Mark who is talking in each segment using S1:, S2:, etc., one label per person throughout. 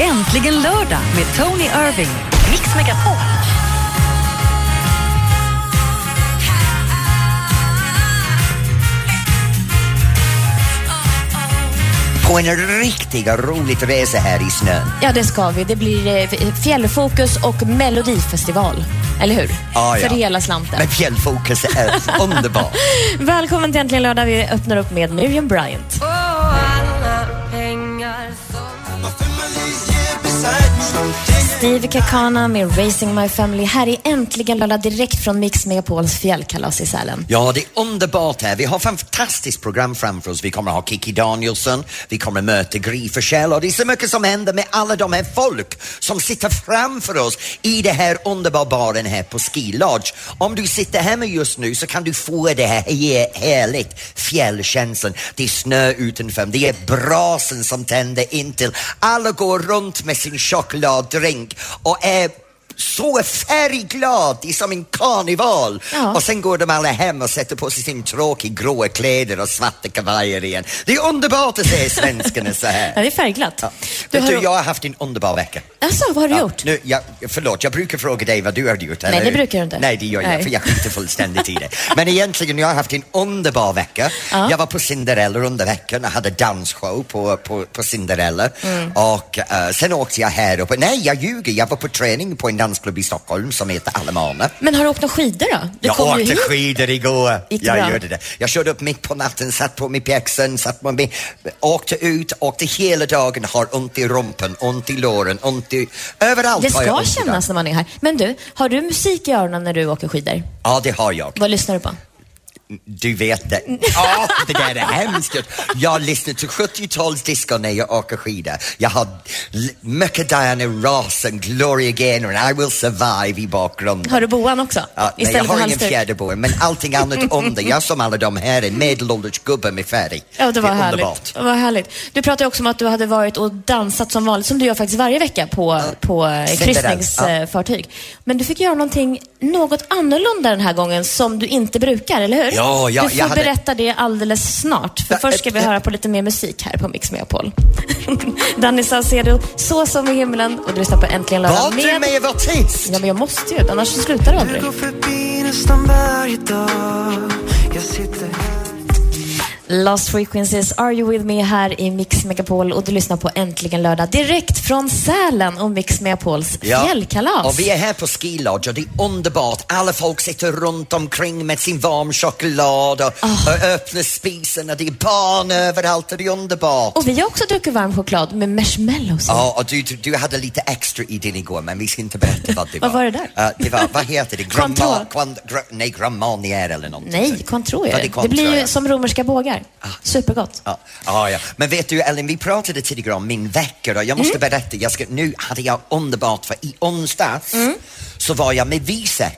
S1: Äntligen lördag med Tony Irving. Mix Megapol.
S2: På en riktigt rolig resa här i snön.
S3: Ja, det ska vi. Det blir eh, Fjällfokus och Melodifestival. Eller hur?
S2: Ah, ja.
S3: För hela slanten.
S2: Men fjällfokus är underbart.
S3: Välkommen till Äntligen lördag. Vi öppnar upp med Miriam Bryant. Steve Kakana med Raising My Family. Här är Äntligen lördag direkt från Mix Megapols fjällkalas i Sälen.
S2: Ja, det är underbart här. Vi har fantastiskt program framför oss. Vi kommer ha Kiki Danielsson, vi kommer möta Gry Forssell och det är så mycket som händer med alla de här folk som sitter framför oss i det här underbara baren här på Ski Lodge. Om du sitter hemma just nu så kan du få det här he- härligt fjällkänslan. Det är snö utanför, det är brasen som tänder intill. Alla går runt med sin chokladdrink och är så färgglad, det är som en karneval.
S3: Ja.
S2: Och sen går de alla hem och sätter på sig sin tråkiga gråa kläder och svarta kavajer igen. Det är underbart att se svenskarna så
S3: Ja,
S2: här.
S3: det är färgglatt.
S2: Ja.
S3: Du
S2: Vet
S3: har...
S2: du, jag har haft en underbar vecka.
S3: Alltså, vad har du gjort?
S2: Nu, jag, förlåt, jag brukar fråga dig vad du har gjort. eller
S3: det
S2: hur?
S3: brukar du inte.
S2: Nej, det gör jag
S3: Nej.
S2: för jag skiter fullständigt i det. Men egentligen, jag har haft en underbar vecka.
S3: Ja.
S2: Jag var på Cinderella under veckan och hade dansshow på, på, på Cinderella.
S3: Mm.
S2: Och eh, sen åkte jag här uppe. Nej, jag ljuger. Jag var på träning på en dansklubb i Stockholm som heter Alemana.
S3: Men har du åkt några skidor då? Du
S2: Jag
S3: kom ju
S2: åkte
S3: hit.
S2: skidor igår.
S3: Gick det
S2: jag
S3: bra?
S2: gjorde det. Jag körde upp mitt på natten, satt på mig pjäxan, satt på mig, åkte ut, åkte hela dagen, har ont i rumpen, ont i låren, ont i... Överallt
S3: Det
S2: har jag
S3: ska
S2: ont idag.
S3: kännas när man är här. Men du, har du musik i öronen när du åker skidor?
S2: Ja, det har jag.
S3: Vad lyssnar du på?
S2: Du vet det. Ja, det där är hemskt. Jag lyssnar till 70-talsdisco när jag åker skidor. Jag har l- mycket Diana Ross och Gloria Gaynor and I will survive i bakgrunden.
S3: Har du boan också?
S2: Ja, nej, jag
S3: Istället för
S2: har ingen
S3: halsduk?
S2: fjäderboa, men allting annat om det. Jag är som alla de här, en medelålders gubbe med färg.
S3: Ja, det var
S2: är
S3: härligt.
S2: underbart.
S3: Det var härligt. Du pratade också om att du hade varit och dansat som vanligt, som du gör faktiskt varje vecka på, på eh,
S2: Sitter där.
S3: kryssningsfartyg. Men du fick göra någonting något annorlunda den här gången som du inte brukar, eller hur?
S2: Ja, ja,
S3: du får
S2: jag hade-
S3: berätta det alldeles snart, för
S2: Ja,
S3: först ska
S2: ett-
S3: vi höra på lite mer musik här på Mix Megapol. Danny Saucedo, Så som i himlen och du lyssnar på Äntligen lördag
S2: Bad du mig vara tyst?
S3: Ja, men jag måste ju, annars så slutar det aldrig. Lost Frequencies, Are You With Me här i Mix Megapol och du lyssnar på Äntligen Lördag direkt från Sälen och Mix Megapols fjällkalas.
S2: Och vi är här på Ski Lodge och det är underbart. Alla folk sitter runt omkring med sin varm choklad och,
S3: Ah.
S2: och öppnar spisen och det är barn överallt och det är underbart.
S3: Och vi har också druckit varm choklad med marshmallows i.
S2: Ja, och du, du, du hade lite extra i din igår men vi ska inte berätta vad det var.
S3: Vad var det där?
S2: Ja, det var, vad heter det?
S3: Cointreau.
S2: Gramma, quan, gra, nej, grammanier eller någonting.
S3: Nej, Cointreau är
S2: Ja,
S3: det.
S2: är
S3: Det
S2: Cointreau,
S3: blir
S2: ja. Ah.
S3: ju som romerska bågar. Supergott.
S2: Ja, ja, ja. Men vet du Ellen, vi pratade tidigare om min vecka och jag måste
S3: Mm.
S2: berätta, jag ska, nu hade jag underbart för i onsdags
S3: Mm.
S2: så var jag med V6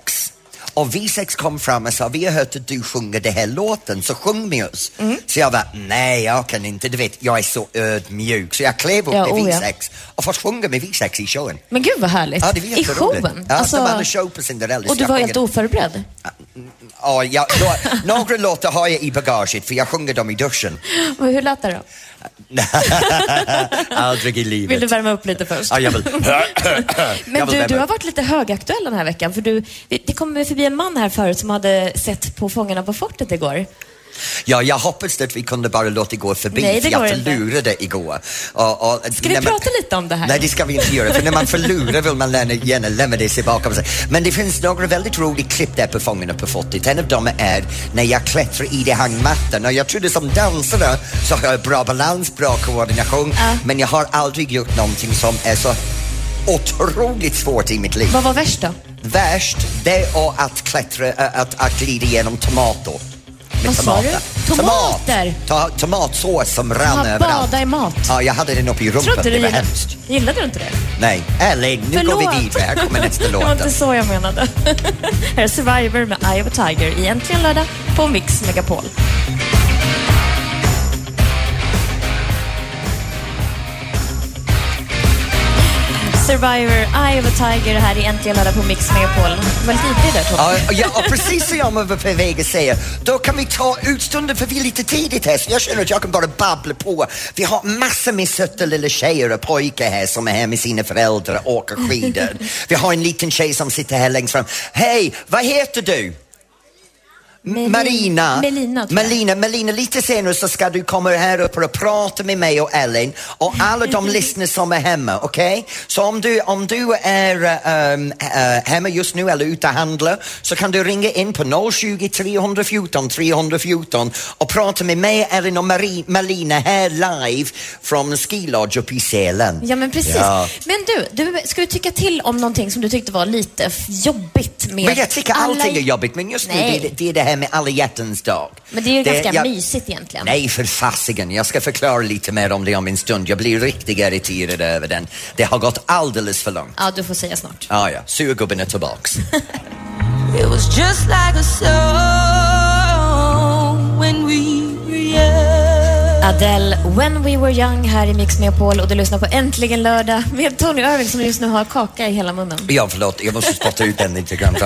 S2: och V6 kom fram och sa, vi har hört att du sjunger den här låten, så sjung med oss.
S3: Mm.
S2: Så jag var, nej jag kan inte, du vet, jag är så ödmjuk. Så jag klev upp
S3: Ja,
S2: med
S3: oh ja.
S2: V6 och fått sjunga med V6 i showen.
S3: Men gud vad härligt.
S2: Ja, det var
S3: I
S2: jätteroligt.
S3: showen.
S2: Ja,
S3: Alltså,
S2: de hade show på Cinderella.
S3: och
S2: så
S3: du
S2: jag
S3: var
S2: sjunger-
S3: helt oförberedd.
S2: Ja, jag, några, några låtar har jag i bagaget för jag sjunger dem i duschen.
S3: Och Hur lät det då?
S2: Aldrig i livet.
S3: Vill du värma upp lite först?
S2: Ja, jag vill.
S3: Men
S2: jag vill
S3: du, du
S2: värma
S3: har
S2: upp.
S3: varit lite högaktuell den här veckan. För du, det kom förbi en man här förut som hade sett på Fångarna på fortet igår.
S2: Ja, jag hoppas att vi kunde bara låta det gå förbi,
S3: Nej, det
S2: för jag
S3: går inte.
S2: förlurade igår. Och, och,
S3: Ska vi prata lite om det här?
S2: Nej, det ska vi inte göra, för när man förlorar vill man gärna, gärna lämna det sig bakom sig. Men det finns några väldigt roliga klipp där på Fångarna på fortet. En av dem är när jag klättrar i det hangmattan och jag trodde som dansare så har jag bra balans, bra koordination, men jag har aldrig gjort någonting som är så otroligt svårt i mitt liv.
S3: Vad var värst då?
S2: Värst, det är att klättra, ä, att, att glida igenom tomater. Med
S3: Vad sa
S2: tomater.
S3: du? Tomater?
S2: Tomat. Ta, tomatsås som rann
S3: Man
S2: överallt.
S3: badar i mat.
S2: Ja, jag hade den uppe i rumpan.
S3: Trodde du
S2: Det var
S3: gillade,
S2: hemskt.
S3: gillade du inte det?
S2: Nej, Elin, nu går vi vidare. Här kommer nästa
S3: det var inte
S2: låt.
S3: så jag menade. Här är Survivor med Eye of a Tiger i Äntligen lördag på Mix Megapol. Survivor, Eye of a Tiger här i Äntligen lördag på Mix Megapol. Du var lite ivrig där
S2: Ja,
S3: Tobbe.
S2: ja, och precis som jag var på väg att säga, då kan vi ta utstunden för vi är lite tidigt här så jag känner att jag kan bara babbla på. Vi har massor med söta lilla tjejer och pojkar här som är här med sina föräldrar och åker skidor. Vi har en liten tjej som sitter här längst fram. Hej, vad heter du?
S3: Melin-
S2: Marina,
S3: Melina, tror jag.
S2: Melina, Melina, lite senare så ska du komma här upp och prata med mig och Ellen och alla de lyssnare som är hemma, okej? Så om du, om du är eh, ehm, eh, hemma just nu eller ute och handlar så kan du ringa in på 020 314 314 och prata med mig, Ellen och Marie, Melina här live från Ski Lodge uppe i Sälen.
S3: Ja, men precis.
S2: Ja.
S3: Men du, du, ska vi tycka till om någonting som du tyckte var lite f- jobbigt med
S2: Men jag tycker
S3: alla-
S2: allting är jobbigt, men just nu
S3: Nej.
S2: det, är- det är det här med alla hjärtans dag.
S3: Men det är ju ganska
S2: jag-
S3: mysigt egentligen.
S2: Nej, för fasiken. Jag ska förklara lite mer om det om en stund. Jag blir riktigt irriterad över den. Det har gått alldeles för långt.
S3: Ja, du får säga snart.
S2: Ah, ja, surgubben är tillbaks.
S4: It was just like a song when we were young.
S3: Adele, When We Were Young här i Mix Megapol och du lyssnar på Äntligen lördag med Tony Irving som just nu har kaka i hela munnen.
S2: Ja, förlåt, jag måste spotta ut den lite grann.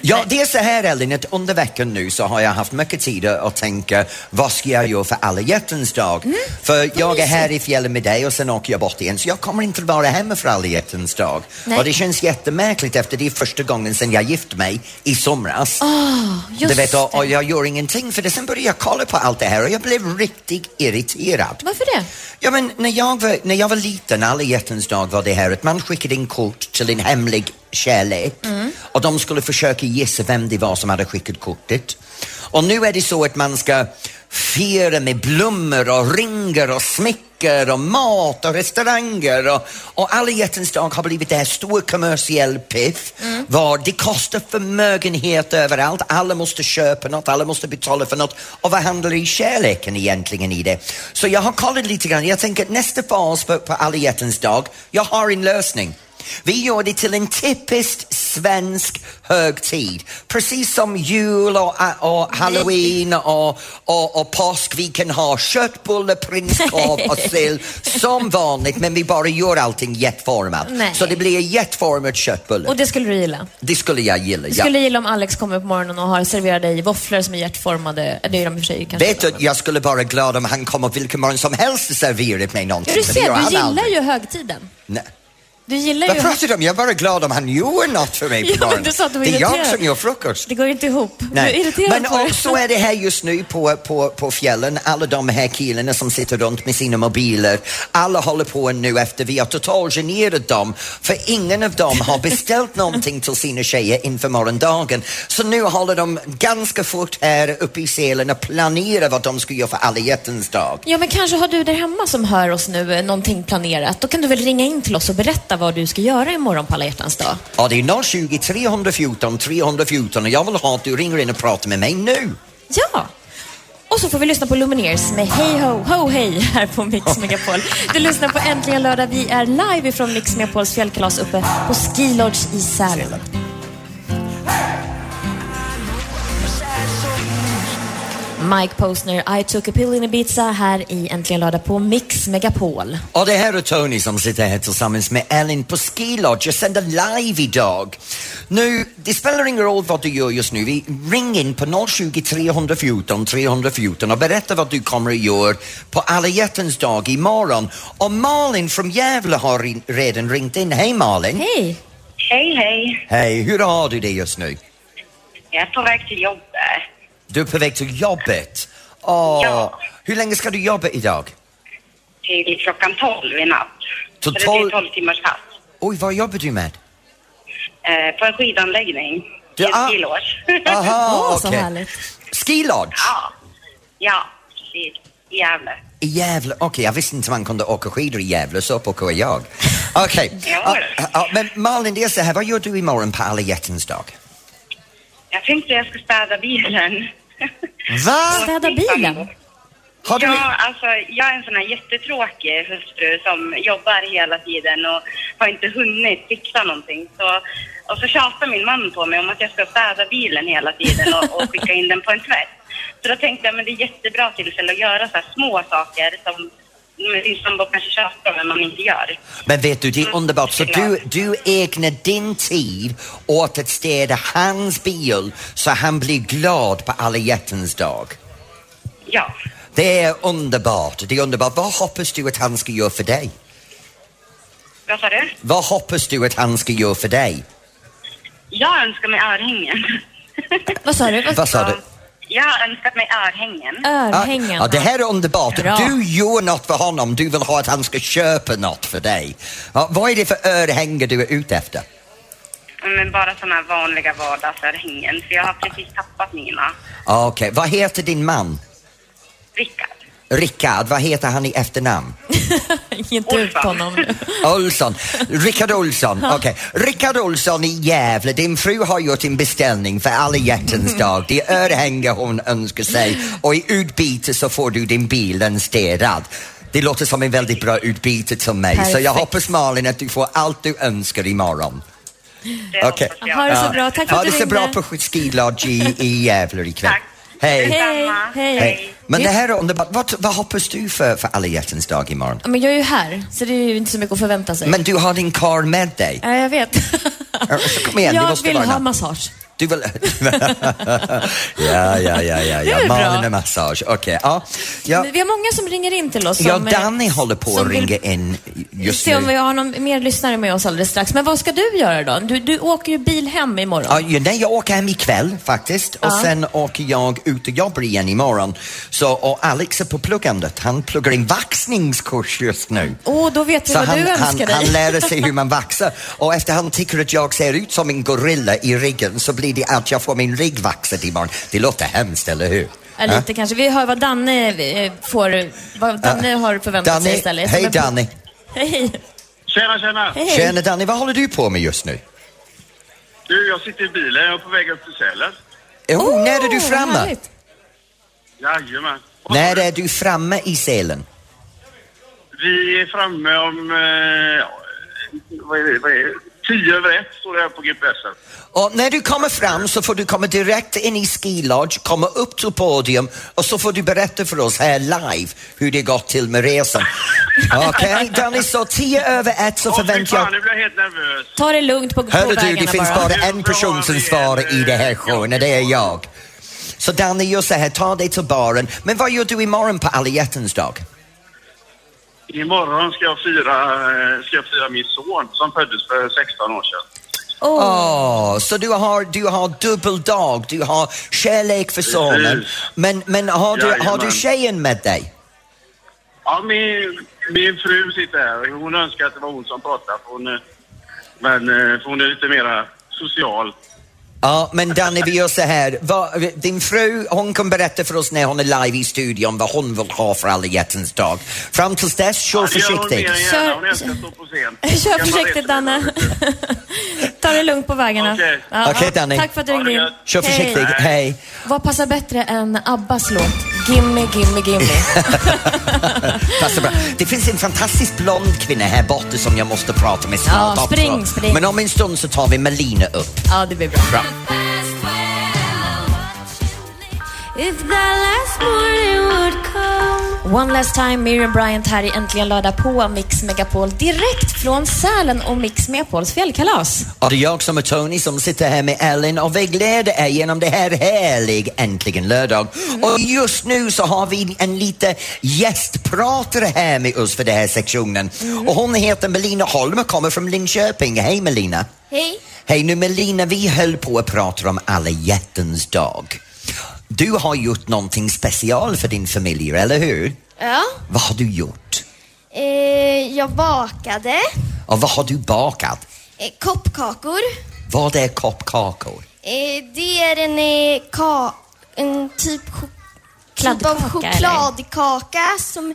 S2: Ja, det är så här Elin, att under veckan nu så har jag haft mycket tid att tänka vad ska jag göra för alla hjärtans dag? för jag är här i fjällen med dig och sen åker jag bort igen så jag kommer inte vara hemma för alla hjärtans dag.
S3: Nej.
S2: Och det känns jättemärkligt efter det är första gången sedan jag gifte mig i somras.
S3: Just
S2: du vet, och, och
S3: det.
S2: jag gör ingenting för det. Sen började jag kolla på allt det här och jag blev riktigt irriterad.
S3: Varför det?
S2: Ja, men när jag var, när jag var liten, alla hjärtans dag var det här att man skickade in kort till en hemlig kärlek
S3: Mm.
S2: och de skulle försöka gissa vem det var som hade skickat kortet. Och nu är det så att man ska fira med blommor och ringar och smycker och mat och restauranger och, och alla hjärtans dag har blivit det här stora kommersiell piff
S3: Mm.
S2: var det kostar förmögenhet överallt, alla måste köpa något, alla måste betala för något och vad handlar i kärleken egentligen i det? Så jag har kollat lite grann, jag tänker att nästa fas på, på alla hjärtans dag, jag har en lösning. Vi gör det till en typiskt svensk högtid. Precis som jul och, och halloween och, och, och påsk. Vi kan ha köttbullar, prinskorv och sill som vanligt men vi bara gör allting jätteformat.
S3: Nej.
S2: Så det blir jätteformat köttbullar.
S3: Och det skulle du gilla?
S2: Det skulle jag gilla.
S3: Du
S2: Ja.
S3: skulle gilla om Alex kommer på morgonen och har serverat dig våfflor som är hjärtformade. Eh, Det är de i och för sig kanske.
S2: Vet du, jag skulle vara glad om han kommer vilken morgon som helst och serverar mig någonting.
S3: Du
S2: men det
S3: ser,
S2: gör han
S3: du gillar
S2: aldrig.
S3: ju högtiden.
S2: Nej.
S3: Du gillar
S2: Vad
S3: ju...
S2: pratar du om? Jag är bara glad om han gör något för mig på
S3: Ja, men
S2: morgonen.
S3: du sa att du var
S2: det är jag
S3: irriterad.
S2: som gör frukost.
S3: Det går ju inte ihop. Du är
S2: Nej.
S3: irriterad
S2: Men
S3: på det.
S2: också är det här just nu på, på, på fjällen, alla de här killarna som sitter runt med sina mobiler. Alla håller på nu efter vi har totalgenerat dem för ingen av dem har beställt någonting till sina tjejer inför morgondagen. Så nu håller de ganska fort här uppe i selen och planerar vad de ska göra för alla hjärtans dag.
S3: Ja, men kanske har du där hemma som hör oss nu eh, någonting planerat. Då kan du väl ringa in till oss och berätta vad du ska göra imorgon på alla hjärtans dag.
S2: Ja, det är 020 314 314 och jag vill ha att du ringer in och pratar med mig nu.
S3: Ja! Och så får vi lyssna på Lumineers med Hey Ho Ho Hey här på Mix Megapol. Du lyssnar på Äntligen lördag. Vi är live ifrån Mix Megapols fjällkalas uppe på Ski Lodge i Sälen. Mike Posner, I took a pill in Ibiza här i Äntligen lördag på Mix Megapol.
S2: Och det här är Tony som sitter här tillsammans med Ellen på Ski Lodge. Jag sänder live idag. Nu, det spelar ingen roll vad du gör just nu. Vi ring in på 020 314 314 och berätta vad du kommer att göra på alla hjärtans dag imorgon. Och Malin från Gävle har rin- redan ringt in. Hej Malin!
S3: Hej!
S5: Hej, hej.
S2: Hej, hur har du det just nu?
S5: Jag är på väg till jobbet.
S2: Du är på väg till jobbet. Åh,
S5: Ja.
S2: Hur länge ska du jobba idag?
S5: Till klockan 12 i natt.
S2: Till
S5: Så det
S2: 12?
S5: blir 12 timmars pass.
S2: Oj, vad jobbar du med?
S5: Eh, på en skidanläggning. I
S2: Ja. ah.
S5: ett skilårs.
S2: Aha,
S3: Åh, så
S2: okej.
S3: härligt.
S2: Ski Lodge
S5: ja. Ja, precis. I Gävle.
S2: i Gävle. Okej, jag visste inte man kunde åka skidor i Gävle, så upp åker jag. Okej.
S5: Ja.
S2: Ja, ja, men Malin, det är så här, vad gör du imorgon på alla hjärtans dag?
S5: Jag tänkte jag ska städa bilen.
S2: Va?
S3: Städa bilen?
S2: Har du...
S5: Ja, alltså jag är en sån här jättetråkig hustru som jobbar hela tiden och har inte hunnit fixa någonting. Så, och så tjatar min man på mig om att jag ska städa bilen hela tiden och, och skicka in den på en tvätt. Så då tänkte jag, men det är jättebra tillfälle att göra så här små saker som men sin sambo kanske tjatar men man inte gör.
S2: Men vet du, det är underbart. Så du, du ägnar din tid åt att städa hans bil så han blir glad på alla hjärtans dag.
S5: Ja.
S2: Det är underbart. Det är underbart. Vad hoppas du att han ska göra för dig?
S5: Vad sa du?
S2: Vad hoppas du att han ska göra för dig?
S5: Jag önskar mig örhängen.
S3: Vad sa du?
S2: Vad sa du?
S5: Jag har önskat mig örhängen.
S3: Örhängen.
S2: Ah, Ja, det här är underbart.
S3: Bra.
S2: Du gör något för honom. Du vill ha att han ska köpa något för dig. Ja, vad är det för örhänge du är ute efter?
S5: Men bara sådana här vanliga vardagsörhängen. För jag har precis tappat mina.
S2: Ah, Okej, vad heter din man?
S5: Rickard.
S2: Rickard, vad heter han i efternamn?
S3: Ge inte ut honom nu.
S2: Olsson. Rickard Olsson. Okej. Rickard Olsson i Gävle. Din fru har gjort en beställning för alla hjärtans dag. Det är örhänge hon önskar sig och i utbyte så får du din bil den städad. Det låter som en väldigt bra utbyte till mig så jag
S3: Perfekt.
S2: hoppas Malin att du får allt du önskar imorgon.
S5: Det
S2: Okej.
S5: hoppas
S3: Ha
S5: jag.
S3: det så bra. Tack för
S2: ha
S3: att
S2: det
S3: du
S2: så bra
S3: ringde.
S2: på skidlodge i, i Gävle ikväll.
S5: Tack.
S2: Hej.
S3: Hej,
S5: Detsamma.
S3: hej.
S2: Hej. Men det här är underbart. Vad, vad hoppas du för, för alla hjärtans dag imorgon?
S3: Ja, Men jag är ju här, så det är ju inte så mycket att förvänta sig.
S2: Men du har din karl med dig.
S3: Ja, jag vet.
S2: så kom igen, det
S3: jag
S2: måste
S3: vill
S2: vara
S3: ha
S2: något.
S3: massage.
S2: Du vill... ja, ja, ja, ja,
S3: Det
S2: ja.
S3: är bra.
S2: Malin och massage. Okej, ja. ja.
S3: Men Vi har många som ringer in till oss.
S2: Ja,
S3: som, eh,
S2: Danny håller på att
S3: som vill
S2: ringa in just
S3: se om vi
S2: nu.
S3: har någon mer lyssnare med oss alldeles strax. Men vad ska du göra då? Du, du åker ju bil hem imorgon.
S2: Ja, ju- nej, jag åker hem ikväll faktiskt och
S3: Ja.
S2: sen åker jag ut och jobbar igen imorgon. Så, och Alex är på pluggandet. Han pluggar en vaxningskurs just nu.
S3: Åh, då vet vi
S2: Så
S3: vad
S2: han,
S3: du
S2: han,
S3: önskar
S2: han
S3: dig.
S2: lär sig hur man vaxar och efter han tycker att jag ser ut som en gorilla i ryggen så blir det att jag får min rygg vaxad imorgon. Det låter hemskt, eller hur?
S3: Ja, lite kanske. Vi hör vad Danne eh, får, vad Danne har förväntat sig
S2: Danny,
S3: istället.
S2: hej
S3: Men-
S2: Danny.
S3: Hej.
S6: Tjena, tjena!
S3: Hej.
S2: Tjena Danny, vad håller du på med just nu?
S6: Du, jag sitter i bilen. Jag är på väg upp till Sälen.
S2: Oh,
S3: Åh,
S2: när är du
S3: vad
S2: framme?
S3: härligt.
S6: Jajamän.
S2: När är du framme i Sälen?
S6: Vi är framme om... Eh, ja, vad är det? Vad är det? Tio över ett står det här på GPSen.
S2: Och när du kommer fram så får du komma direkt in i Ski Lodge, komma upp till podium och så får du berätta för oss här live hur det gått till med resan. Okej, Danny, så tio över ett så
S6: Åh, fy
S2: förväntar jag...
S6: fan, nu blir jag helt nervös.
S3: Ta det lugnt på, på
S2: Hörde
S3: vägarna
S2: du, det finns
S3: bara.
S2: bara en person som svarar i det här showen och det är jag. Så Danny, gör så här, ta dig till baren. Men vad gör du imorgon på alla hjärtans dag?
S6: Imorgon ska jag, fira, eh, ska jag fira min son som föddes för 16 år sedan.
S3: Åh.
S2: Åh, så du har, du har dubbel dag, du har kärlek för sonen.
S6: Precis.
S2: Men, men har, du, har du
S6: Jajamän.
S2: tjejen med dig?
S6: Ja, min, min fru sitter här. Hon önskar att det var hon som pratade. för Hon, eh, men eh, för hon är lite mer social.
S2: Ja, men Danny, vi gör så här. Va, din fru, hon kan berätta för oss när hon är live i studion vad hon vill ha för alla hjärtans dag. Fram tills dess, kör
S6: Det gör hon mer
S2: försiktigt.
S6: än
S3: Kör-
S6: gärna. Hon älskar att stå på scen.
S3: Kör
S6: Gammal
S3: försiktigt, Danne. Ta det lugnt på vägarna.
S6: Okej.
S3: Ja,
S2: Okej,
S3: ja.
S2: Danny.
S3: Tack för att du
S6: Ha det
S3: ringde in.
S6: gött.
S2: Kör
S3: Hej.
S2: försiktigt, hej.
S3: Vad passar bättre än Abbas låt Gimme, gimme, gimme?
S2: Passar bra. Det finns en fantastisk blond kvinna här borta som jag måste prata med snart
S3: Ja,
S2: också.
S3: spring, spring.
S2: Men om en stund så tar vi Melina upp.
S3: ja, det blir bra.
S2: Bra.
S7: If that last morning would come
S3: One last time, Miriam Bryant här i Äntligen lördag på Mix Megapol direkt från Sälen och Mix Megapols fjällkalas.
S2: Och det är jag som är Tony som sitter här med Ellen och vägleder er genom det här härlig Äntligen lördag.
S3: Mm.
S2: Och just nu så har vi en lite gästpratare här med oss för den här sektionen.
S3: Mm.
S2: Och hon heter Melina Holm och kommer från Linköping. Hej Melina!
S7: Hej.
S2: Hej nu Melina, vi höll på att prata om alla hjärtans dag. Du har gjort någonting special för din familj, eller hur?
S7: Ja.
S2: Vad har du gjort?
S7: Eh, jag bakade
S2: Och vad har du bakat?
S7: eh, koppkakor.
S2: Vad är koppkakor?
S7: Eh, det är en, eh, ka- en typ, cho- typ av
S3: Kladdkaka,
S7: chokladkaka som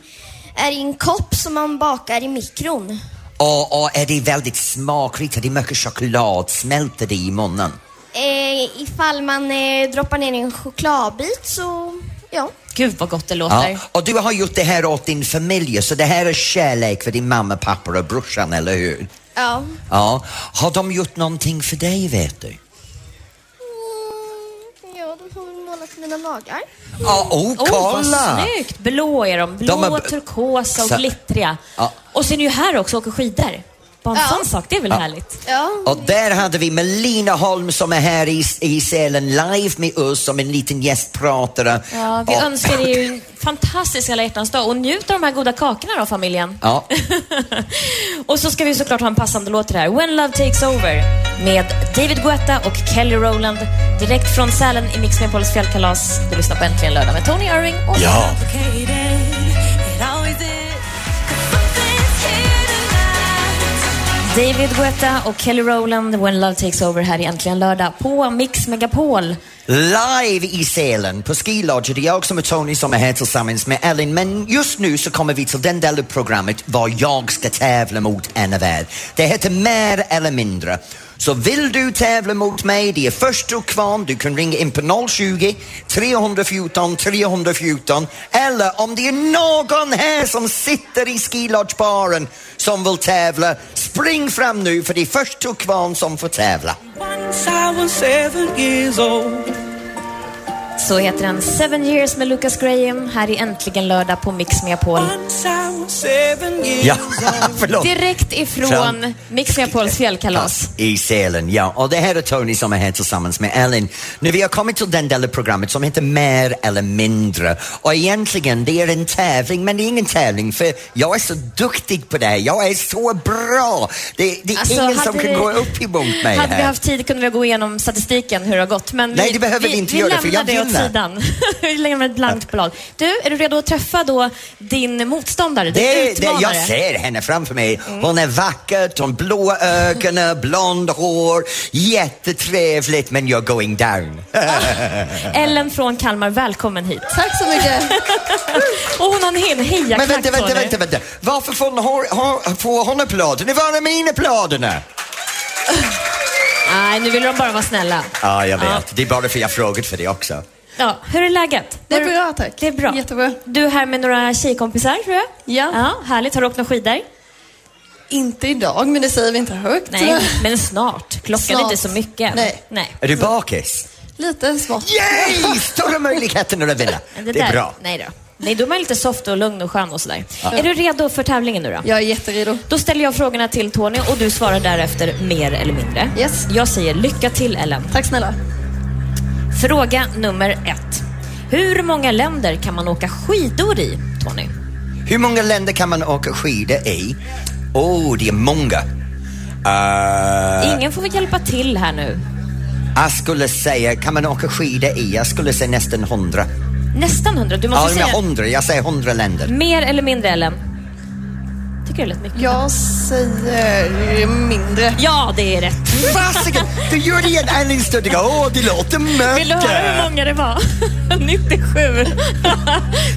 S7: är i en kopp som man bakar i mikron.
S2: Och, och är det väldigt smakrikt? Är det mycket choklad? Smälter det i munnen?
S7: Eh, ifall man eh, droppar ner en chokladbit så, ja.
S3: Gud vad gott det låter.
S2: Ja. Och du har gjort det här åt din familj, så det här är kärlek för din mamma, pappa och brorsan, eller hur?
S7: Ja.
S2: Ja. Har de gjort någonting för dig, vet du?
S7: Mm, ja, de har målat upp mina naglar.
S2: Ja, oh,
S3: Oh, vad
S2: kolla!
S3: snyggt! Blå är de. Blå,
S2: De är b-
S3: turkosa och
S2: Så-
S3: glittriga.
S2: Ja.
S3: Och så är ni ju här också och åker skidor. Bara en
S7: Ja.
S3: sån sak, det är väl härligt?
S7: Ja.
S2: Och där hade vi Melina Holm som är här i, i Sälen live med oss som en liten gästpratare.
S3: Ja, vi
S2: Och-
S3: önskar er ju en fantastisk alla hjärtans dag och njut av de här goda kakorna då, familjen.
S2: Ja,
S3: och så ska vi såklart ha en passande låt till det här. When Love Takes Over med David Guetta och Kelly Rowland. Direkt från Sälen i Mix Megapols fjällkalas. Du lyssnar på Äntligen lördag med Tony Irving och
S2: Ja.
S3: David Guetta och Kelly Rowland, When Love Takes Over här i Äntligen lördag på Mix Megapol.
S2: live i Sälen på Ski Lodge. Det är jag som är Tony som är här tillsammans med Ellen. Men just nu så kommer vi till den del av programmet var jag ska tävla mot en av er. Det heter Mer eller mindre. Så vill du tävla mot mig, det är först och kvarn. Du kan ringa in på 020 314 314 eller om det är någon här som sitter i Ski Lodge-baren som vill tävla, spring fram nu för det är först och kvarn som får tävla.
S4: Once I was seven years old.
S3: Så heter den Seven Years med Lucas Graham här i Äntligen lördag på Mix Megapol.
S4: Once I was seven years
S2: Ja, förlåt.
S3: Direkt ifrån
S2: Fram.
S3: Mix Megapols fjällkalas.
S2: I Sälen, ja. Och det här är Tony som är här tillsammans med Ellen. Nu vi har kommit till den delen av programmet som heter Mer eller mindre. Och egentligen, det är en tävling, men det är ingen tävling för jag är så duktig på det här. Jag är så bra. Det, det är
S3: Alltså,
S2: ingen
S3: hade
S2: som kan
S3: vi-
S2: gå upp emot mig
S3: Hade vi
S2: här.
S3: haft tid kunde vi gå igenom statistiken hur det har gått. Men
S2: Nej,
S3: vi,
S2: det behöver vi inte
S3: vi
S2: göra, för
S3: lämnar
S2: jag
S3: det åt
S2: vinner.
S3: sidan. vi lämnar ett blankt blad. Du, är du redo att träffa då din motståndare, din
S2: Det, det,
S3: utmanare? Mm.
S2: jag ser henne framför mig. Hon är vacker, de blå ögonen, blond hår, jättetrevligt men you're going down.
S3: Ellen från Kalmar, välkommen hit.
S8: Tack så mycket.
S3: Och hon har en hel hejaklack
S2: Men vänta,
S3: på
S2: vänta,
S3: dig.
S2: vänta, vänta. Varför får hon, har, har, får hon applåderna? Var är mina applåderna?
S3: Nej, nu vill de bara vara snälla.
S2: Ja, jag vet.
S3: Ja.
S2: Det är bara för jag frågat för det också.
S3: Ja, hur är läget?
S8: Det är
S3: Har du-
S8: bra, tack.
S3: Det är bra.
S8: Jättebra.
S3: Du är här med några tjejkompisar, tror jag?
S8: Ja.
S3: ja härligt. Har du åkt några skidor?
S8: Inte idag, men det säger vi inte högt.
S3: Nej, men snart. Klockan är
S8: Snart.
S3: inte så mycket än.
S8: Nej.
S3: Nej.
S2: Är du bakis?
S8: Lite smått.
S2: Yay! Stora möjligheter att vinna.
S3: Men
S2: Det är
S3: där-
S2: bra.
S3: Nej då. Nej, då är man lite soft och lugn och skön och sådär. Är du redo för tävlingen nu då?
S8: Jag är jätteredo.
S3: Då ställer jag frågorna till Tony och du svarar därefter mer eller mindre.
S8: Yes.
S3: Jag säger lycka till Ellen.
S8: Tack snälla.
S3: Fråga nummer ett. Hur många länder kan man åka skidor i, Tony?
S2: Hur många länder kan man åka skidor i? Åh, oh, det är många. Uh,
S3: Ingen får väl hjälpa till här nu.
S2: jag skulle säga, kan man åka skidor i? Jag skulle säga nästan hundra.
S3: Nästan hundra. Du måste
S2: Ja, men
S3: säga
S2: hundra. Jag säger hundra länder.
S3: mer eller mindre, Ellen. Tycker du det lät mycket?
S8: Jag säger mindre.
S3: Ja, det är rätt.
S2: Fasiken! Du gör det igen. Ellen stod och Åh, det låter mycket.
S3: Vill du höra hur många det var? 97.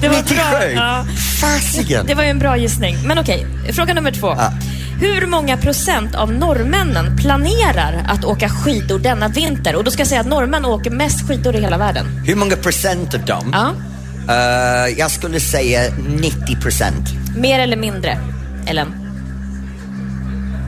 S3: det var
S2: 97?
S3: bra. Ja.
S2: Fasiken!
S3: Det var ju en bra gissning. Men okej, fråga nummer två.
S2: Ja.
S3: Hur många procent av norrmännen planerar att åka skidor denna vinter? Och då ska jag säga att norrmän åker mest skidor i hela världen.
S2: Hur många procent av dem?
S3: Ja.
S2: Eh, jag skulle säga 90 procent.
S3: Mer eller mindre, Ellen?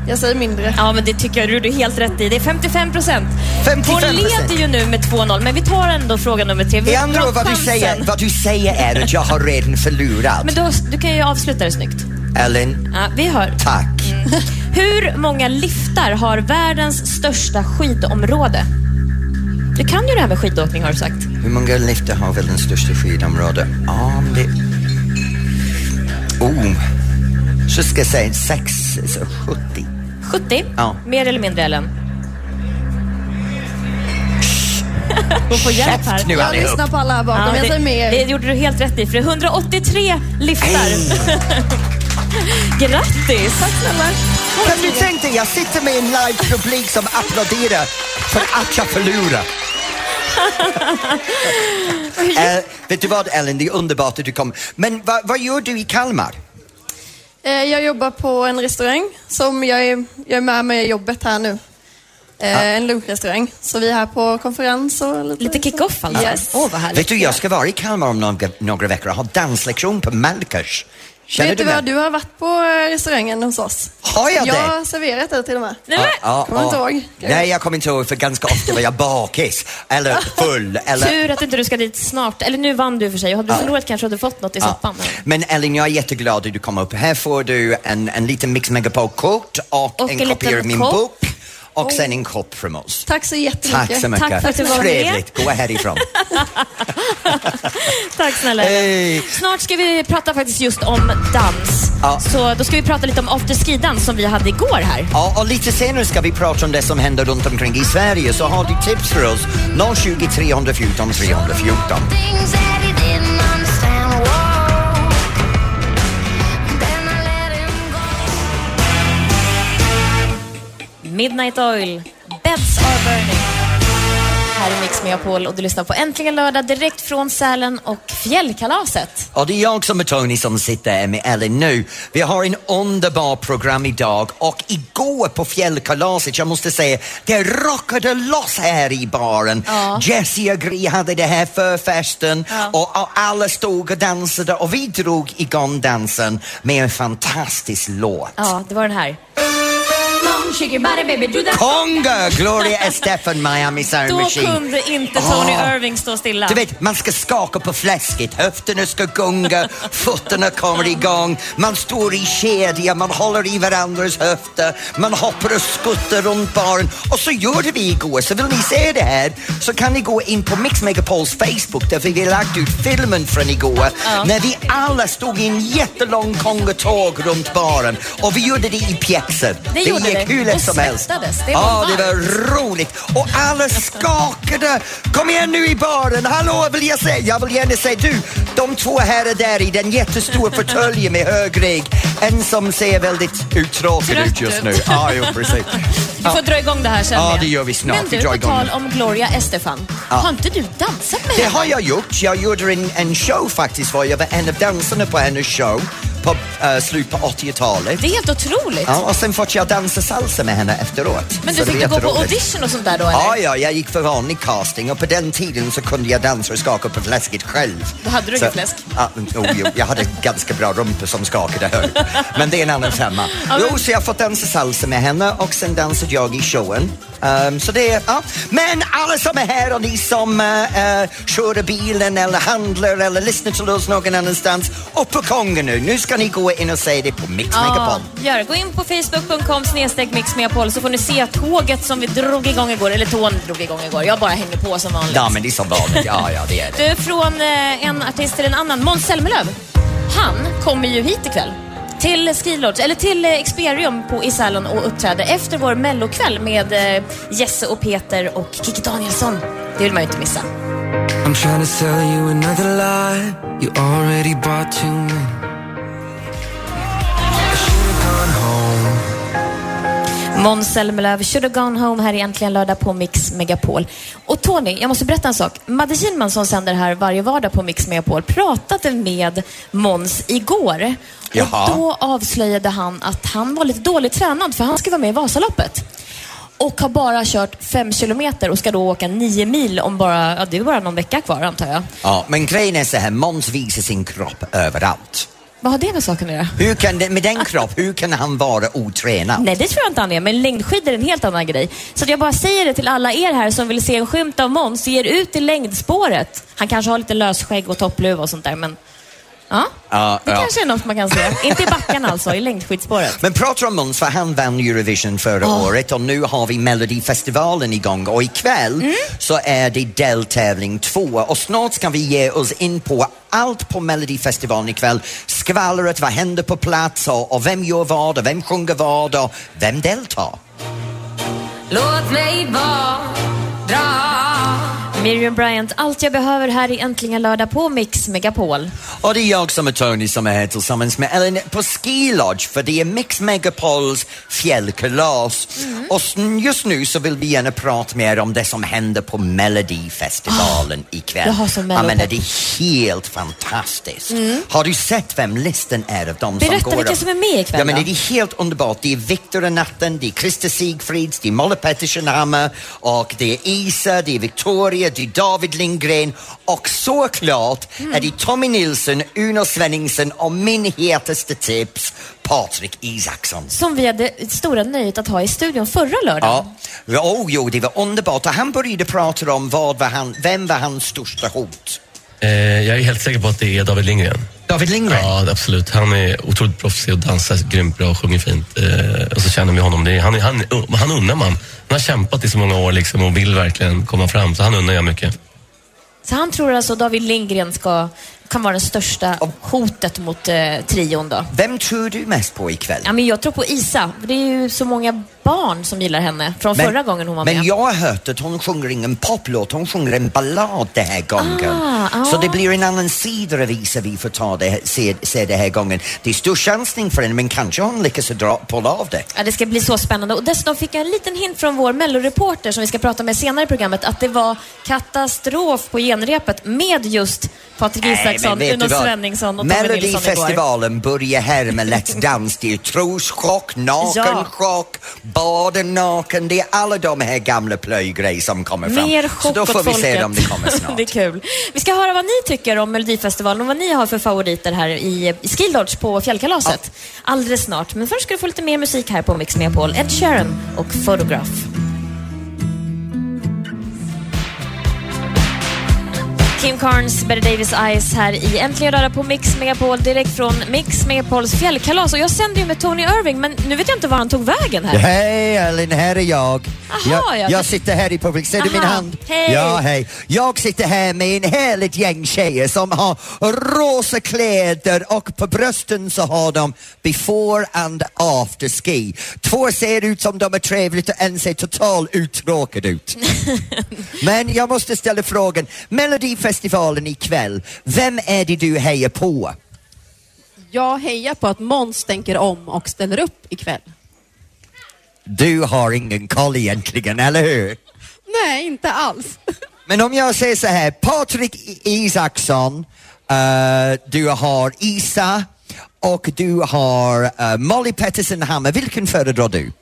S8: Jag säger mindre.
S3: Ja, men det tycker jag du är helt rätt i. Det är 55 procent. Hon
S2: 55%.
S3: leder ju nu med 2-0, men vi tar ändå fråga nummer tre. Vi
S2: Det
S3: har
S2: andra
S3: bra
S2: vad du,
S3: chansen.
S2: säger, vad du säger är att jag har redan förlorat.
S3: Men du, har- du kan ju avsluta det snyggt.
S2: Ellen,
S3: Ja, vi hör.
S2: tack.
S3: Hur många liftar har världens största skidområde? Du kan ju det här med skidåkning har du sagt.
S2: Hur många lifter har väl den största skidområdet? Ja, men det... Oh. Så ska jag säga 6, 70.
S3: 70?
S2: Ja.
S3: Mer eller mindre Ellen? Hon får hjälp här.
S2: nu
S8: Jag
S2: allihop.
S8: lyssnar på alla här bakom.
S3: Ja,
S8: jag
S3: det,
S8: säger mer.
S3: det gjorde du helt rätt i, för det är 183 liftar. Grattis! Tack snälla.
S2: Kan du tänka dig, jag sitter med en live-publik som applåderar för att jag förlorar. Eh, vet du vad Ellen, det är underbart att du kom. Men vad- vad gör du i Kalmar?
S8: Eh, Jag jobbar på en restaurang som jag är, jag är med med i jobbet här nu. Eh, En lunchrestaurang. Så vi är här på konferens och lite...
S3: Lite kick-off alltså.
S8: Yes.
S3: Åh, vad härligt.
S2: Vet du, jag ska vara i Kalmar om några, några veckor och ha danslektion på Malkers. Känner
S8: Vet du
S2: du
S8: vad,
S2: det?
S8: du har varit på eh, restaurangen hos oss.
S2: Har jag
S8: Jag
S2: det?
S8: har serverat dig till och med.
S3: Nej, men,
S8: Kommer inte ihåg?
S2: Nej, jag kommer inte ihåg för ganska ofta var jag bakis eller full eller...
S3: Tur att inte du ska dit snart. Eller nu vann du för sig. Hade du förlorat kanske hade du fått något i soppan.
S2: Ja. Men Ellen, jag är jätteglad att du kom upp. Här får du en, en liten Mix Megapol-kort och,
S3: Och
S2: en,
S3: en
S2: kopia
S3: liten
S2: av min
S3: kopp.
S2: bok och sen en kopp från oss.
S8: Tack så jättemycket.
S2: Tack så mycket.
S3: Tack för att du var med.
S2: Trevligt. Gå härifrån.
S3: Tack snälla.
S2: Hej.
S3: Snart ska vi prata faktiskt just om dans.
S2: Ja.
S3: Så då ska vi prata lite om afterski-dans som vi hade igår här.
S2: Ja, och lite senare ska vi prata om det som händer runt omkring i Sverige. Så har du tips för oss, 020 314 314.
S3: Midnight Oil, Beds Are Burning. Här är Mix Megapol och du lyssnar på Äntligen Lördag direkt från Sälen och Fjällkalaset.
S2: Och det är jag som är Tony som sitter här med Ellen nu. Vi har en underbar program idag och igår på fjällkalaset, jag måste säga, det rockade loss här i baren.
S3: Ja.
S2: Jessie och Gry hade det här förfesten
S3: Ja.
S2: och, och alla stod och dansade och vi drog igång dansen med en fantastisk låt.
S3: Ja, det var den här.
S2: Conga, Gloria Estefan, Miami Sound
S3: Då
S2: Machine.
S3: kunde inte Tony
S2: Ah.
S3: Irving stå stilla.
S2: Du vet, man ska skaka på fläsket, höfterna ska gunga, fötterna kommer igång, man står i kedja, man håller i varandras höfter, man hoppar och skuttar runt baren. Och så gjorde vi igår, så vill ni se det här så kan ni gå in på Mix Megapols Facebook där vi har lagt ut filmen från igår när vi alla stod i en jättelång kongatåg runt baren och vi gjorde det i pjäxor.
S3: Det gjorde
S2: gick
S3: det.
S2: hur lätt
S3: Och
S2: som helst.
S3: svettades. Det var
S2: ja, det var
S3: varmt.
S2: roligt och alla skakade. Kom igen nu i baren, hallå vill jag säga, jag vill gärna säga du, de två här är där i den jättestora fåtöljen med hög rygg. En som ser väldigt uttråkad
S3: Trött
S2: ut just nu.
S3: ut.
S2: Ja, jo precis.
S3: Vi får dra igång det här sen.
S2: Ja,
S3: igen.
S2: det gör vi snart.
S3: Men
S2: Vi
S3: du,
S2: drar
S3: på
S2: igång
S3: tal
S2: det.
S3: om Gloria Estefan.
S2: Ja.
S3: Har inte du dansat med
S2: Det
S3: henne?
S2: har jag gjort. Jag gjorde en, en show faktiskt, var jag var en av dansarna på hennes show på uh, slutet på 80-talet.
S3: Det är helt otroligt.
S2: Ja, och sen fått jag dansa salsa med henne efteråt.
S3: Men
S2: Så det
S3: du fick
S2: var
S3: du gå på
S2: jätteroligt.
S3: audition och sånt där då eller?
S2: Ja, ja, jag gick för vanlig casting och på den tiden så kunde jag dansa och skaka på fläsket själv.
S3: Då hade du
S2: så,
S3: inget fläsk.
S2: Ja, men, jo, jo, jag hade ganska bra rumpa som skakade högt. Men det är en annan femma. Jo, så jag har fått dansa salsa med henne och sen dansade jag i showen. Ehm, så det är, ja. Men alla som är här och ni som uh, kör bilen eller handlar eller lyssnar till oss någon annanstans, upp på Kongen nu. Nu ska ni gå in och säga det på Mix Megapol.
S3: gör det. Gå in på facebook.com snedstreck mixmeapol så får ni se tåget som vi drog igång igår, eller tån drog igång igår. Jag bara hänger på som vanligt.
S2: Ja, men det är som vanligt. Ja, ja, det är det.
S3: Du, från eh, en artist till en annan. Måns Zelmerlöw. Han kommer ju hit ikväll. Till Skilodge, eller till eh, Experium på i Sälen och uppträder efter vår mellokväll med eh, Jesse och Peter och Kikki Danielsson. Det vill man ju inte missa.
S4: I'm trying to sell you another lie. You already bought too many.
S3: Måns Zelmerlöw, Should have gone home här i Äntligen lördag på Mix Megapol. Och Tony, jag måste berätta en sak. Madde Kihlman som sänder här varje vardag på Mix Megapol pratade med Måns igår.
S2: Jaha.
S3: Och då avslöjade han att han var lite dåligt tränad för han ska vara med i Vasaloppet. Och har bara kört fem kilometer och ska då åka nio mil om bara, ja det är bara någon vecka kvar antar jag.
S2: Ja, men grejen är så här, Måns visar sin kropp överallt.
S3: Vad har det med saken att göra?
S2: Hur kan det, med den kropp, hur kan han vara otränad?
S3: Nej, det tror jag inte han är, men längdskidor är en helt annan grej. Så att jag bara säger det till alla er här som vill se en skymt av Måns, ge er ut i längdspåret. Han kanske har lite lösskägg och toppluva och sånt där, men ja,
S2: Ja,
S3: det
S2: ja.
S3: kanske är något man kan se. inte i backen alltså, i längdskidspåret.
S2: Men pratar om Måns, för han vann Eurovision förra året och nu har vi Melodifestivalen igång och ikväll så är det deltävling två och snart ska vi ge oss in på allt på Melodifestivalen ikväll. Skvallret, vad händer på plats och, och vem gör vad och vem sjunger vad och vem deltar?
S9: Låt mig vara dra
S3: Miriam Bryant, allt jag behöver här i Äntligen lördag på Mix Megapol.
S2: Och det är jag som är Tony som är här tillsammans med Ellen på Ski Lodge för det är Mix Megapols fjällkalas.
S3: Mm.
S2: Och s- just nu så vill vi gärna prata mer om det som händer på Melodifestivalen ikväll.
S3: Ah, jag har så
S2: Jag
S3: Mello-
S2: menar, det är helt fantastiskt. Har du sett vem listan är av de
S3: Berätta
S2: som går?
S3: vilka
S2: upp?
S3: som är med ikväll
S2: Ja, men
S3: då.
S2: det är helt underbart. Det är Victor och Natten, det är Christer Sigfrids, det är Molle Pettersson Hammar och det är Isa, det är Victoria, det är David Lindgren och såklart är det Tommy Nilsson, Uno Svenningsson och min hetaste tips Patrik Isaksson.
S3: Som vi hade det stora nöjet att ha i studion förra lördagen.
S2: Ja, oh, jo, det var underbart och han började prata om vad var han, vem var hans största hot?
S10: Eh, jag är helt säker på att det är David Lindgren.
S2: David Lindgren?
S10: Ja, absolut. Han är otroligt proffsig och dansar grymt bra och sjunger fint. Eh, och så känner vi honom. Det är, han, är- han, han unnar man. Han har kämpat i så många år liksom och vill verkligen komma fram, så han unnar jag mycket.
S3: Så han tror alltså David Lindgren ska, kan vara det största hotet mot eh, trion då.
S2: Vem tror du mest på ikväll?
S3: Ja, men jag tror på Isa. Det är ju så många barn som gillar henne från förra gången hon var
S2: men
S3: med.
S2: jag har hört att hon sjunger ingen poplåt, hon sjunger en ballad den här gången.
S3: Ah,
S2: Så
S3: ah.
S2: det blir en annan sida av Isa vi får ta det, här- se, se den här gången. Det är stor chansning för henne men kanske hon lyckas dra, pulla av det.
S3: Ja, det ska bli så spännande. Och dessutom fick jag en liten hint från vår melloreporter som vi ska prata med senare i programmet att det var katastrof på genrepet med just Patrik Isaksson,
S2: Nej, men vet
S3: Uno
S2: du vad?
S3: Svenningsson och Tommy Nilsson igår.
S2: Melodifestivalen börjar här med Let's Dance. Det är troschock, nakenchock, baden naken. Det är alla de här gamla plöjgrejer som kommer fram.
S3: Mer
S2: Så
S3: chock
S2: då
S3: åt
S2: får vi
S3: folket.
S2: se om det kommer snart.
S3: det är kul. Vi ska höra vad ni tycker om Melodifestivalen och vad ni har för favoriter här i, i Skill Lodge på Fjällkalaset. Alldeles snart. Men först ska du få lite mer musik här på Mix Megapol. Ed Sheeran och Photograph. Kim Carnes, Betty Davis Eyes här i Äntligen lördag på Mix Megapol direkt från Mix Megapols fjällkalas. Och jag sände ju med Tony Irving men nu vet jag inte var han tog vägen här.
S2: Hej Ellen, här är jag.
S3: Äh. Aha, ja.
S2: jag, jag sitter här i publik. Ser du min
S3: Aha,
S2: hand?
S3: hej.
S2: Ja, hej. Jag sitter här med en härligt gäng tjejer som har rosa kläder och på brösten så har de before and after ski. Två ser ut som de är trevligt och en ser totalt uttråkad ut. Men jag måste ställa frågan, Melodifestivalen ikväll, vem är det du hejar på?
S11: Jag hejar på att Måns tänker om och ställer upp ikväll.
S2: Du har ingen koll egentligen, eller hur?
S11: Nej, inte alls.
S2: Men om jag säger så här, Patrik I- Isaksson, eh, du har Isa och du har eh, Molly Pettersson Hammar. Vilken föredrar du?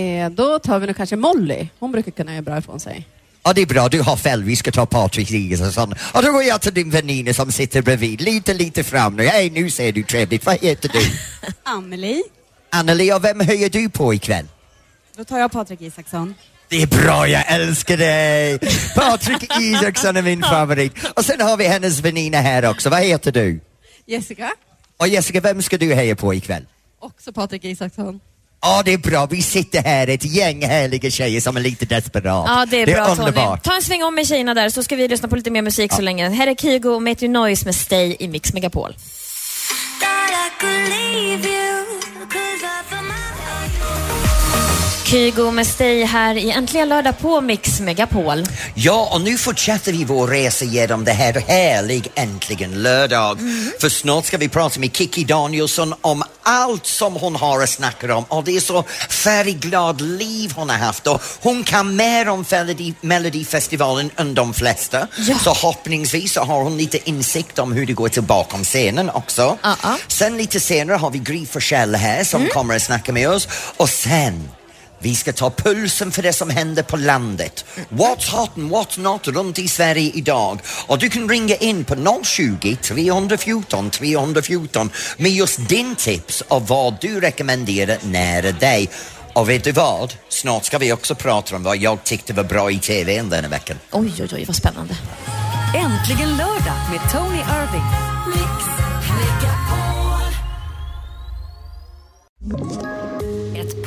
S11: Eh, då tar vi nog kanske Molly. Hon brukar kunna göra bra ifrån sig.
S2: Ja, det är bra, du har fel. Vi ska ta Patrik Isaksson. Och då går jag till din väninna som sitter bredvid, lite, lite fram nu. Hej, nu ser du trevligt. Vad heter du?
S12: Amelie.
S2: Anneli, och vem höjer du på ikväll?
S12: Då tar jag Patrik Isaksson.
S2: Det är bra, jag älskar dig! Patrik Isaksson är min favorit. Och sen har vi hennes väninna här också. Vad heter du?
S11: Jessica?
S2: Och Jessica, vem ska du heja på ikväll?
S11: Också Patrik Isaksson.
S2: Ja, det är bra. Vi sitter här, ett gäng härliga tjejer som är lite desperata.
S3: Ja, det är bra Tony.
S2: underbart.
S3: Ta en sväng om med tjejerna där så ska vi lyssna på lite mer musik så länge. Här är Kygo och Matthew Noise med Stay i Mix Megapol. Kygo med Stay här i Äntligen lördag på Mix Megapol.
S2: Ja, och nu fortsätter vi vår resa genom det här härlig äntligen lördag. För snart ska vi prata med Kiki Danielsson om allt som hon har att snacka om. Och det är så färgglad liv hon har haft och hon kan mer om Melodi- Melodifestivalen än de flesta. Så hoppningsvis så har hon lite insikt om hur det går till bakom scenen också. Sen lite senare har vi Gry Forssell här som kommer att snacka med oss och sen vi ska ta pulsen för det som händer på landet. What's hot and what's not runt i Sverige idag. Och du kan ringa in på 020 314 314 med just din tips och vad du rekommenderar nära dig. Och vet du vad? Snart ska vi också prata om vad jag tyckte var bra i TVn den här veckan.
S3: Oj, oj, oj, vad spännande.
S1: Äntligen lördag med Tony Irving.
S13: Ett